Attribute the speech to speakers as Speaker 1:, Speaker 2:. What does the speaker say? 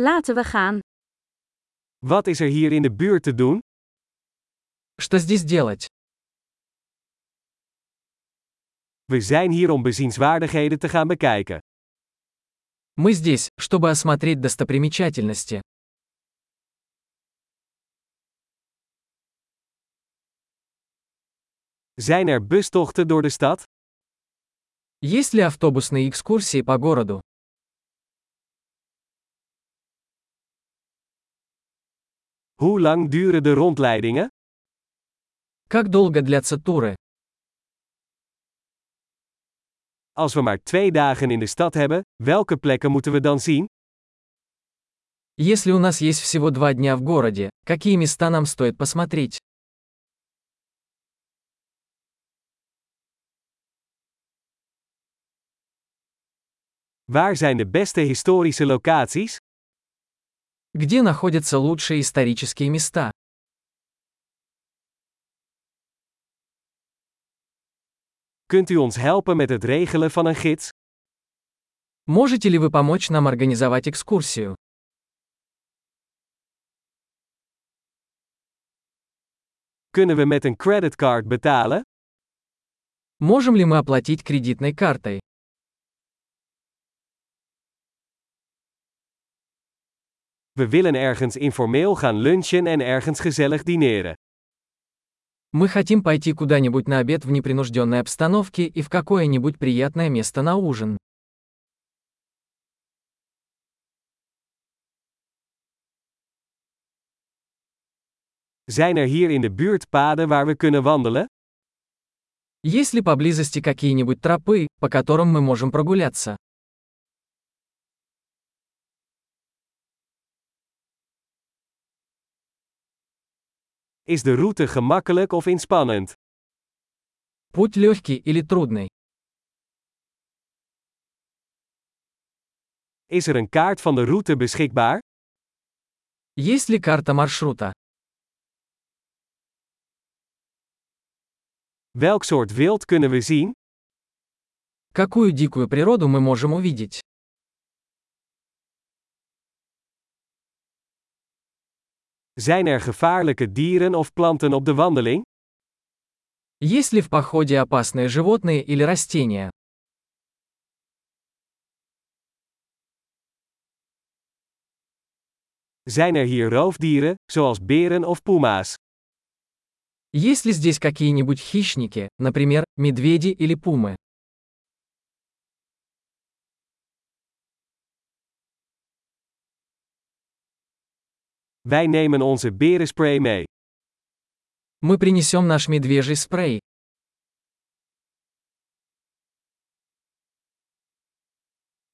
Speaker 1: Laten we gaan.
Speaker 2: Wat is er hier in de buurt te doen?
Speaker 3: Что здесь делать?
Speaker 2: We zijn hier om bezienswaardigheden te gaan bekijken.
Speaker 3: Мы здесь, чтобы осмотреть достопримечательности.
Speaker 2: Zijn er bustochten door de stad?
Speaker 3: Есть ли автобусные экскурсии по городу?
Speaker 2: Hoe lang duren de rondleidingen?
Speaker 3: Как долго длятся туры?
Speaker 2: Als we maar twee dagen in de stad hebben, welke plekken moeten we dan zien?
Speaker 3: Если у нас есть всего два дня в городе, какие места нам стоит посмотреть?
Speaker 2: Waar zijn de beste historische locaties?
Speaker 3: Где находятся лучшие исторические места?
Speaker 2: Kunt u ons helpen met het regelen van een gids?
Speaker 3: Можете ли вы помочь нам организовать экскурсию?
Speaker 2: Kunnen we met een creditcard betalen?
Speaker 3: Можем ли мы оплатить кредитной картой?
Speaker 2: We willen ergens informeel gaan lunchen en ergens gezellig dineren.
Speaker 3: Мы хотим пойти куда-нибудь на обед в непринужденной обстановке и в какое-нибудь приятное место на ужин.
Speaker 2: Zijn er hier in de buurt paden waar we kunnen wandelen?
Speaker 3: Есть ли поблизости какие-нибудь тропы, по которым мы можем прогуляться?
Speaker 2: Is de route gemakkelijk of inspannend?
Speaker 3: Путь легкий или трудный?
Speaker 2: Is er een kaart van de route beschikbaar?
Speaker 3: Есть ли карта маршрута?
Speaker 2: Welk soort wild kunnen we zien?
Speaker 3: Какую дикую природу мы можем увидеть?
Speaker 2: Zijn er gevaarlijke dieren of planten op de wandeling?
Speaker 3: Есть ли в походе опасные животные или растения?
Speaker 2: Zijn er hier roofdieren, zoals beren of puma's?
Speaker 3: Есть ли здесь какие-нибудь хищники, например, медведи или пумы?
Speaker 2: Wij nemen onze berenspray mee.
Speaker 3: Мы принесем наш медвежий спрей.